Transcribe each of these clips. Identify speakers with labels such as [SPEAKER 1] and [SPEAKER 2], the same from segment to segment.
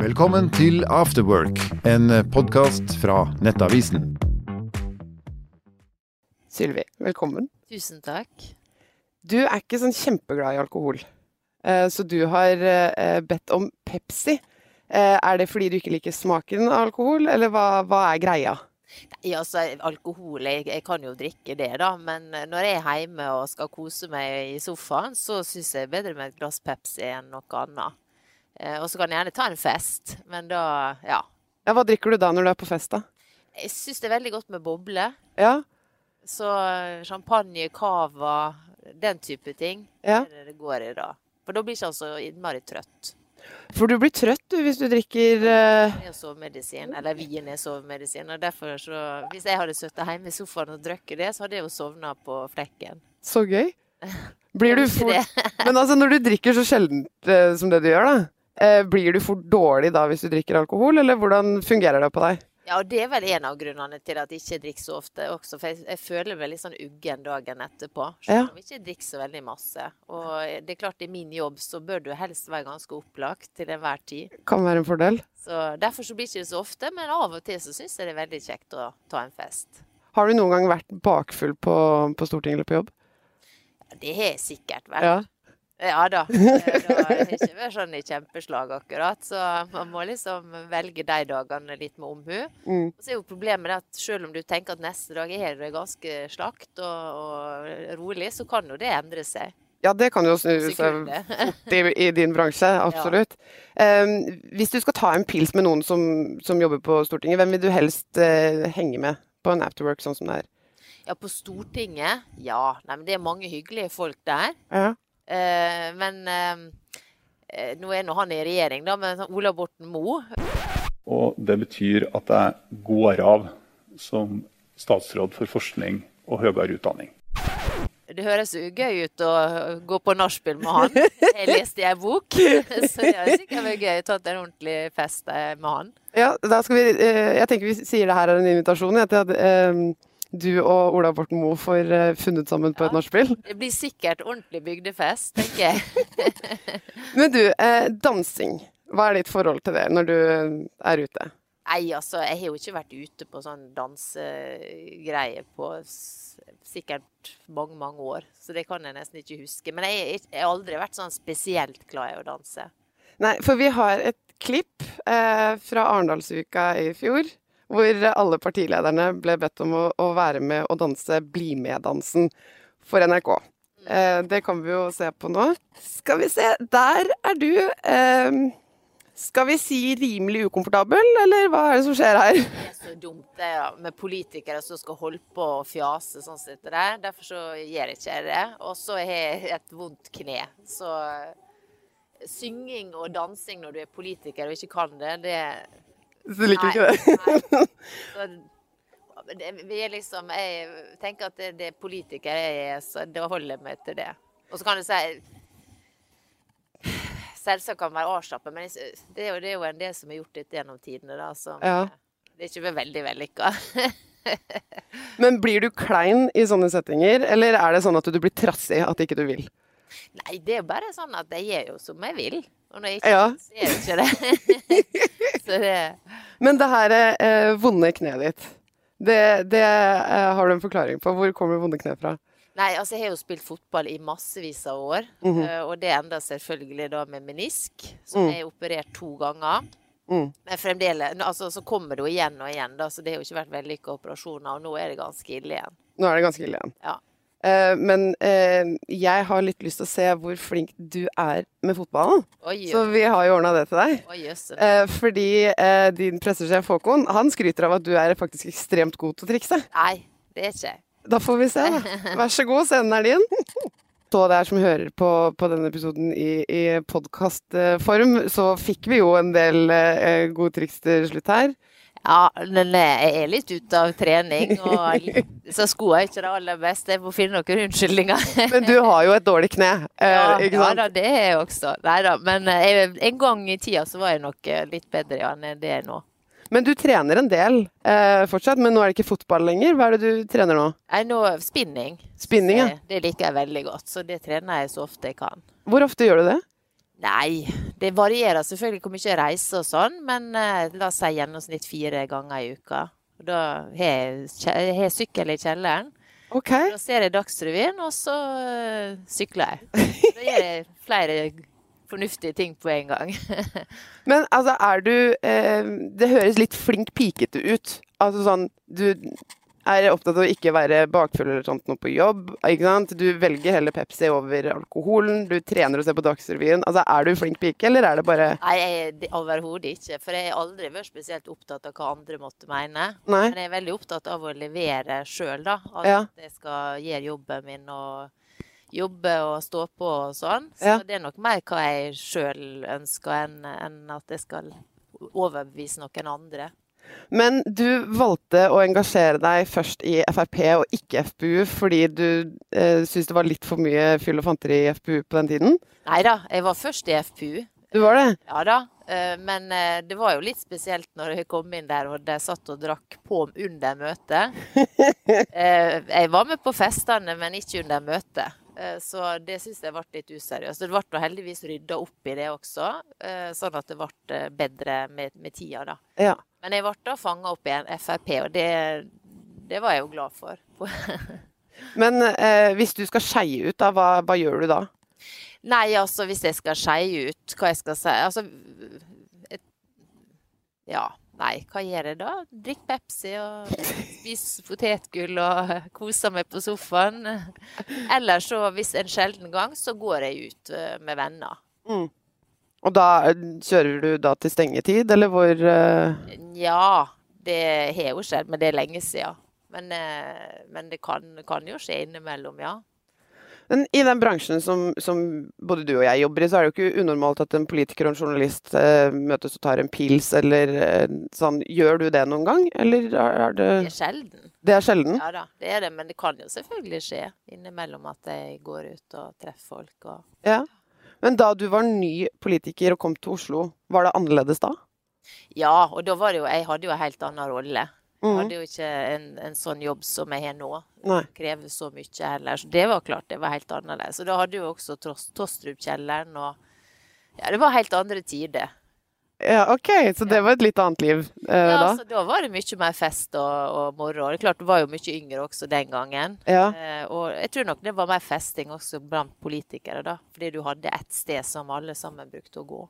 [SPEAKER 1] Velkommen til Afterwork, en podkast fra Nettavisen.
[SPEAKER 2] Sylvi, velkommen.
[SPEAKER 3] Tusen takk.
[SPEAKER 2] Du er ikke sånn kjempeglad i alkohol, Eh, så du har eh, bedt om Pepsi. Eh, Er det fordi du ikke liker smaken av alkohol, eller hva, hva er greia?
[SPEAKER 3] Ja, altså, alkohol, jeg, jeg kan jo drikke det, da. Men eh, når jeg er hjemme og skal kose meg i sofaen, så syns jeg bedre med et glass Pepsi enn noe annet. Eh, Og så kan jeg gjerne ta en fest, men da, ja.
[SPEAKER 2] Ja, hva drikker du da når du er på fest, da?
[SPEAKER 3] Jeg syns det er veldig godt med boble.
[SPEAKER 2] Ja,
[SPEAKER 3] Så eh, champagne, cava, den type ting.
[SPEAKER 2] Ja.
[SPEAKER 3] Det er det det går i da. For da blir ikke han så innmari trøtt.
[SPEAKER 2] For du blir trøtt du hvis du drikker eh,
[SPEAKER 3] Det er jo sovemedisin, eller vin er sovemedisin. Og derfor så Hvis jeg hadde sittet hjemme i sofaen og drukket det, så hadde jeg jo sovna på flekken.
[SPEAKER 2] Så gøy. Blir du
[SPEAKER 3] Ikke
[SPEAKER 2] fort
[SPEAKER 3] det?
[SPEAKER 2] Men altså, når du drikker så sjeldent eh, som det du gjør, da, eh, blir du fort dårlig da hvis du drikker alkohol, eller hvordan fungerer det på deg?
[SPEAKER 3] Ja, og det er vel en av grunnene til at jeg ikke drikker så ofte også, for jeg, jeg føler meg litt sånn uggen dagen etterpå.
[SPEAKER 2] Ja.
[SPEAKER 3] Selv om jeg ikke drikker så veldig masse. Og det er klart, i min jobb så bør du helst være ganske opplagt til enhver tid.
[SPEAKER 2] Kan være en fordel.
[SPEAKER 3] Så derfor så blir det ikke så ofte, men av og til så syns jeg det er veldig kjekt å ta en fest.
[SPEAKER 2] Har du noen gang vært bakfull på, på Stortinget eller på jobb?
[SPEAKER 3] Ja, Det har jeg sikkert vært. Ja. da. Eh, Da har jeg ikke vært sånn i kjempeslag akkurat. Så man må liksom velge de dagene litt med omhu.
[SPEAKER 2] Mm.
[SPEAKER 3] Og så er jo problemet det at selv om du tenker at neste dag er det ganske slakt og, og rolig, så kan jo det endre seg.
[SPEAKER 2] Ja, det kan jo sånn- snu seg
[SPEAKER 3] Sekundet.
[SPEAKER 2] fort i, i din bransje, absolutt. Em, hvis du skal ta en pils med noen som, som jobber på Stortinget, hvem vil du helst eh, henge med på en afterwork sånn som det er?
[SPEAKER 3] Ja, på Stortinget, ja. Nei, men det er mange hyggelige folk der.
[SPEAKER 2] Ja.
[SPEAKER 3] Eh, men eh, eh, nå er nå han i regjering, da, men sånn Ola Borten Moe
[SPEAKER 4] Og det betyr at jeg går av som statsråd for forskning og høyere utdanning.
[SPEAKER 3] Det høres jo gøy ut å gå på nachspiel med han. Jeg leste i ei bok, så det hadde sikkert vært gøy å tatt en ordentlig fest eh, med han.
[SPEAKER 2] Ja, da skal vi, eh, jeg tenker vi sier det her er en invitasjon ja, til at em, du og Ola Borten Moe får eh, funnet sammen på
[SPEAKER 3] Ja.
[SPEAKER 2] et nachspiel.
[SPEAKER 3] Det blir sikkert ordentlig bygdefest, tenker jeg.
[SPEAKER 2] Men du, eh, dansing. Hva er ditt forhold til det når du eh, er ute?
[SPEAKER 3] Nei, altså, jeg har jo ikke vært ute på sånn dansegreie på s- sikkert mange, mange år. Så det kan jeg nesten ikke huske. Men jeg, er ikke- jeg har aldri vært sånn spesielt glad i å danse.
[SPEAKER 2] Nei, for vi har et klipp eh, fra Arendalsuka i fjor, hvor alle partilederne ble bedt om å, å være med og danse Bli med-dansen for NRK. Eh, det kan vi jo se på nå. Skal vi se, der er du. Eh, skal vi si rimelig ukomfortabel, eller hva er det som skjer her?
[SPEAKER 3] Det er så dumt det er med politikere som skal holde på og fjase sånn som dette der. Derfor så gjør jeg ikke det. Og så har jeg et vondt kne. Så eh, synging og dansing når du er politiker og ikke kan det, det
[SPEAKER 2] Du liker ikke det?
[SPEAKER 3] Nei. Så, det, vi er liksom, jeg tenker at det, det er politikere jeg er, så da holder jeg meg til det. Og så kan du si Selvsagt kan man være avslappet, men jeg sy- det er, jo, det er jo en del som har gjort dette gjennom tidene. da, som eh,
[SPEAKER 2] Ja.
[SPEAKER 3] Det er ikke veldig vellykka.
[SPEAKER 2] Men blir du klein i sånne settinger, eller er det sånn at du blir trassig at ikke du vil?
[SPEAKER 3] Nei, det er jo bare sånn at jeg gjør jo som jeg vil. Og når jeg ikke
[SPEAKER 2] Ja.
[SPEAKER 3] vil, så gjør jeg ikke det. så det
[SPEAKER 2] Men det her eh, vonde kneet ditt, det, det eh, har du en forklaring på. Hvor kommer vonde kne fra?
[SPEAKER 3] Nei, altså jeg har jo spilt fotball i massevis av år.
[SPEAKER 2] Mhm.
[SPEAKER 3] eh, Og det enda selvfølgelig da med menisk, som jeg har operert to ganger.
[SPEAKER 2] Mm.
[SPEAKER 3] Men fremdeles, nå, altså så kommer det jo igjen og igjen, da, så det har jo ikke vært vellykka operasjoner. Og nå er det ganske ille igjen.
[SPEAKER 2] Nå er det ganske ille igjen.
[SPEAKER 3] Ja.
[SPEAKER 2] Eh, men eh, jeg har litt lyst til å se hvor flink du er med fotballen.
[SPEAKER 3] Oi,
[SPEAKER 2] Så vi har jo ordna det til deg.
[SPEAKER 3] oi, jøssen.
[SPEAKER 2] Eh, fordi eh, din pressesjef Håkon han skryter av at du er faktisk ekstremt god til å trikse.
[SPEAKER 3] Nei, det er ikke jeg.
[SPEAKER 2] Da får vi se, da. Vær så god, scenen er din. Så dere som hører på, på denne episoden i, i podkastform, så fikk vi jo en del eh, gode triks til slutt her.
[SPEAKER 3] Ja, men eh, jeg er litt ute av trening, og så skoene er ikke det aller beste. Jeg må finne noen unnskyldninger.
[SPEAKER 2] Men du har jo et dårlig kne, eh,
[SPEAKER 3] Ja,
[SPEAKER 2] ikke
[SPEAKER 3] ja
[SPEAKER 2] sant?
[SPEAKER 3] da, det er jeg også. Nei da, men eh, jeg, en gang i tida så var jeg nok eh, litt bedre ja, enn det jeg er nå.
[SPEAKER 2] Men du trener en del eh, fortsatt, men nå er det ikke fotball lenger. Hva er det du trener nå?
[SPEAKER 3] Nei, nå spinning.
[SPEAKER 2] Spinning, ja.
[SPEAKER 3] Det, det liker jeg veldig godt, så det trener jeg så ofte jeg kan.
[SPEAKER 2] Hvor ofte gjør du det?
[SPEAKER 3] Nei, det varierer selvfølgelig hvor mye jeg reiser og sånn, men eh, la oss si gjennomsnitt fire ganger i uka. Og Da har jeg kje- jeg har sykkel i kjelleren.
[SPEAKER 2] OK.
[SPEAKER 3] Da ser jeg Dagsrevyen, og så eh, sykler jeg. Da gjør jeg flere fornuftige ting på en gang.
[SPEAKER 2] Men altså, er du eh, Det høres litt flink pikete ut. Altså sånn Du er opptatt av å ikke være bakfull eller sånt noe på jobb. ikke sant? Du velger heller Pepsi over alkoholen. Du trener og ser på Dagsrevyen. Altså, er du flink pike, eller er det bare
[SPEAKER 3] Nei, jeg, det- overhodet ikke. For jeg har aldri vært spesielt opptatt av hva andre måtte mene.
[SPEAKER 2] Nei?
[SPEAKER 3] Men jeg er veldig opptatt av å levere sjøl, da. At
[SPEAKER 2] Ja.
[SPEAKER 3] jeg skal gjøre jobben min og jobbe og stå på og sånn. Så
[SPEAKER 2] Ja.
[SPEAKER 3] det er nok mer hva jeg sjøl ønsker enn enn at jeg skal overbevise noen andre.
[SPEAKER 2] Men du valgte å engasjere deg først i Frp og ikke FpU fordi du eh, syntes det var litt for mye fyll og fanteri i FpU på den tiden?
[SPEAKER 3] Nei da, jeg var først i FPU.
[SPEAKER 2] Du var det?
[SPEAKER 3] Ja da. eh, Men eh, det var jo litt spesielt når jeg kom inn der og de satt og drakk på under møtet. Eh, Jeg var med på festene, men ikke under møtet. Eh, Så det syns jeg ble litt useriøst. Det ble nå heldigvis rydda opp i det også, eh, sånn at det ble eh, bedre med, med tida, da.
[SPEAKER 2] Ja.
[SPEAKER 3] Men jeg ble da fanga opp i en Frp, og det, det var jeg jo glad for.
[SPEAKER 2] Men eh, hvis du skal skeie ut, da, hva, hva gjør du da?
[SPEAKER 3] Nei, altså, hvis jeg skal skeie ut hva jeg skal si Altså et, Ja, nei, hva gjør jeg da? Drikk Pepsi og spise potetgull og kose meg på sofaen. Eller så, hvis en sjelden gang, så går jeg ut eh, med venner.
[SPEAKER 2] Og da eh, kjører du da til stengetid, eller hvor eh,
[SPEAKER 3] Nja, det har jo skjedd, men det er lenge siden. Men, eh, men det kan, kan jo skje innimellom, ja.
[SPEAKER 2] Men i den bransjen som, som både du og jeg jobber i, så er det jo ikke unormalt at en politiker og en journalist eh, møtes og tar en pils, eller eh, sånn. Gjør du det noen gang, eller er, er det
[SPEAKER 3] Det er sjelden.
[SPEAKER 2] Det er sjelden?
[SPEAKER 3] Ja da, det er det, men det kan jo selvfølgelig skje innimellom at jeg går ut og treffer folk. og...
[SPEAKER 2] Ja. Men da du var ny politiker og kom til Oslo, var det annerledes da?
[SPEAKER 3] Ja, og da var det jo, jeg hadde jo en helt annen rolle. Jeg
[SPEAKER 2] Mhm.
[SPEAKER 3] hadde jo ikke en, en sånn jobb som jeg har nå.
[SPEAKER 2] Nei.
[SPEAKER 3] Krever så mye heller. Så det var klart, det var helt annerledes. Og da hadde jo også Tros- Tostrup-kjelleren og Ja, det var helt andre tider.
[SPEAKER 2] Ja, OK, så det var et litt annet liv eh,
[SPEAKER 3] Ja,
[SPEAKER 2] da?
[SPEAKER 3] så da var det mye mer fest og, og moro. Det er klart, du var jo mye yngre også den gangen.
[SPEAKER 2] Ja.
[SPEAKER 3] Eh, og jeg tror nok det var mer festing også blant politikere, da. Fordi du hadde ett sted som alle sammen brukte å gå.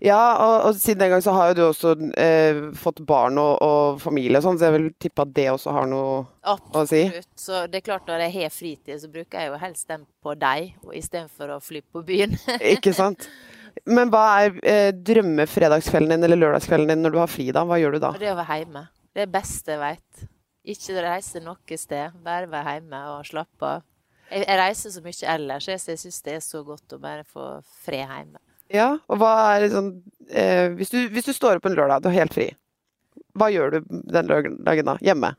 [SPEAKER 2] ja og, og siden den gang så har jo du også eh, fått barn og, og familie og sånn, så jeg vil tippe at det også har noe
[SPEAKER 3] Absolutt.
[SPEAKER 2] å si.
[SPEAKER 3] Så det er klart når jeg har fritid, så bruker jeg jo helst den på deg, og istedenfor å fly på byen.
[SPEAKER 2] Ikke sant? Men hva er eh, drømmefredagskvelden din eller lørdagskvelden din når du har fri da? Hva gjør du da?
[SPEAKER 3] Og det å være hjemme. Det er det beste jeg vet. Ikke reise noe sted. Bare være hjemme og slappe av. Jeg, jeg reiser så mye ellers, så jeg syns det er så godt å bare få fred hjemme.
[SPEAKER 2] Ja, og hva er liksom eh, hvis, du, hvis du står opp en lørdag, du er helt fri, hva gjør du den lørdagen da? Hjemme?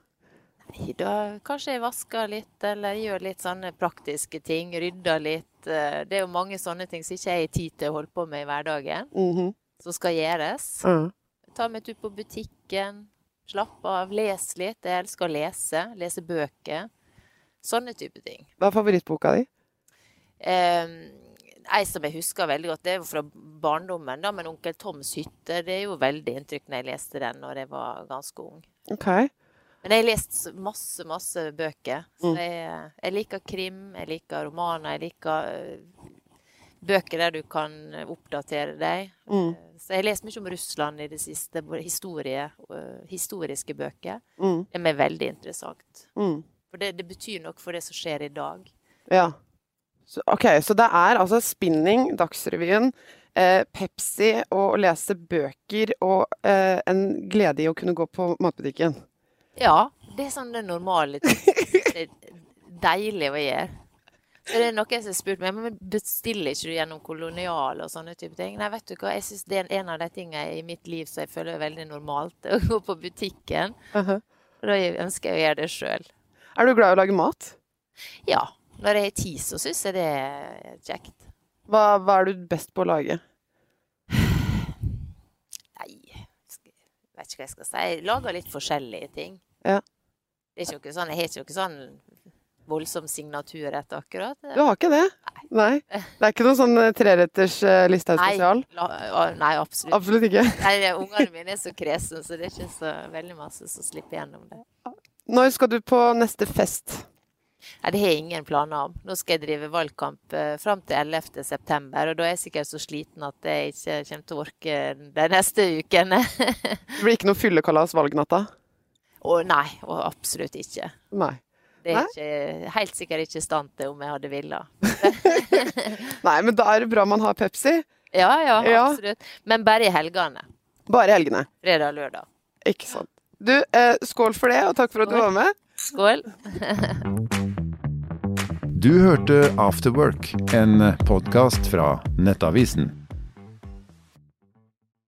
[SPEAKER 3] Nei, Da Eh, kanskje jeg vasker litt, eller gjør litt sånne praktiske ting. Rydder litt. Eh, Det er jo mange sånne ting som ikke jeg har tid til å holde på med i hverdagen,
[SPEAKER 2] Mhm.
[SPEAKER 3] som skal gjøres.
[SPEAKER 2] Ja.
[SPEAKER 3] Ta meg en tur på butikken. Slapp av, les litt. Jeg elsker å lese. Lese bøker. Sånne type ting.
[SPEAKER 2] Hva er favorittboka di?
[SPEAKER 3] Eh, ei som jeg husker veldig godt, det er jo fra barndommen, da, men 'Onkel Toms hytte' det er jo veldig inntrykk når jeg leste den når jeg var ganske ung.
[SPEAKER 2] Ok.
[SPEAKER 3] Men jeg har lest så- masse, masse bøker. Så jeg, eh, jeg liker krim, jeg liker romaner, jeg liker eh, bøker der du kan oppdatere deg.
[SPEAKER 2] Mm.
[SPEAKER 3] Eh, Så jeg har lest mye om Russland i det siste, både historie, eh, historiske bøker.
[SPEAKER 2] Mm.
[SPEAKER 3] Det er veldig interessant.
[SPEAKER 2] Mm.
[SPEAKER 3] For det, det betyr noe for det som skjer i dag.
[SPEAKER 2] Ja. Så, ok, så det er altså spinning, Dagsrevyen, eh, Pepsi og å lese bøker og eh, en glede i å kunne gå på matbutikken.
[SPEAKER 3] Ja, det er sånn det normale. Det er deilig å gjøre. Så det er noen som har spurt meg men bestiller ikke du gjennom kolonial og sånne type ting. Nei, vet du hva, jeg synes det er en av de tingene i mitt liv som jeg føler er veldig normalt, å gå på butikken.
[SPEAKER 2] Mhm.
[SPEAKER 3] Og da ønsker jeg å gjøre det sjøl.
[SPEAKER 2] Er du glad i å lage mat?
[SPEAKER 3] Ja. Når jeg har tid, så syns jeg det er kjekt.
[SPEAKER 2] Hva, hva er du best på å lage?
[SPEAKER 3] Nei, sk- vet ikke hva jeg skal si. Jeg lager litt forskjellige ting.
[SPEAKER 2] Ja.
[SPEAKER 3] Det er ikke noe sånn, jeg har ikke noe sånn voldsom signaturrett akkurat.
[SPEAKER 2] Du har ikke det?
[SPEAKER 3] Nei.
[SPEAKER 2] Nei. Det er ikke noen sånn eh, treretters eh, Listhaug
[SPEAKER 3] Nei,
[SPEAKER 2] spesial?
[SPEAKER 3] la- å, nei absolutt.
[SPEAKER 2] Absolutt ikke.
[SPEAKER 3] Nei, det- Ungene mine er så kresne, så det er ikke så veldig masse som slipper gjennom det.
[SPEAKER 2] Når skal du på neste fest?
[SPEAKER 3] Nei, det har jeg ingen planer om. Nå skal jeg drive valgkamp eh, fram til 11. september, og da er jeg sikkert så sliten at jeg ikke kommer til å orke de neste ukene.
[SPEAKER 2] Det blir ikke noe fyllekalas valgnatta?
[SPEAKER 3] Å nei, og absolutt ikke.
[SPEAKER 2] Nei.
[SPEAKER 3] Det
[SPEAKER 2] Nei?
[SPEAKER 3] er ikke, helt sikkert ikke i stand til om jeg hadde villet.
[SPEAKER 2] Nei, men da er det bra man har Pepsi.
[SPEAKER 3] Ja, ja,
[SPEAKER 2] Ja.
[SPEAKER 3] absolutt. Men bare i helgene.
[SPEAKER 2] Bare i helgene.
[SPEAKER 3] Fredag og lørdag.
[SPEAKER 2] Ikke sant. Du, eh, skål for det, og takk for at du
[SPEAKER 3] Skål.
[SPEAKER 2] var med.
[SPEAKER 3] Skål.
[SPEAKER 1] Du hørte Afterwork, en podkast fra Nettavisen.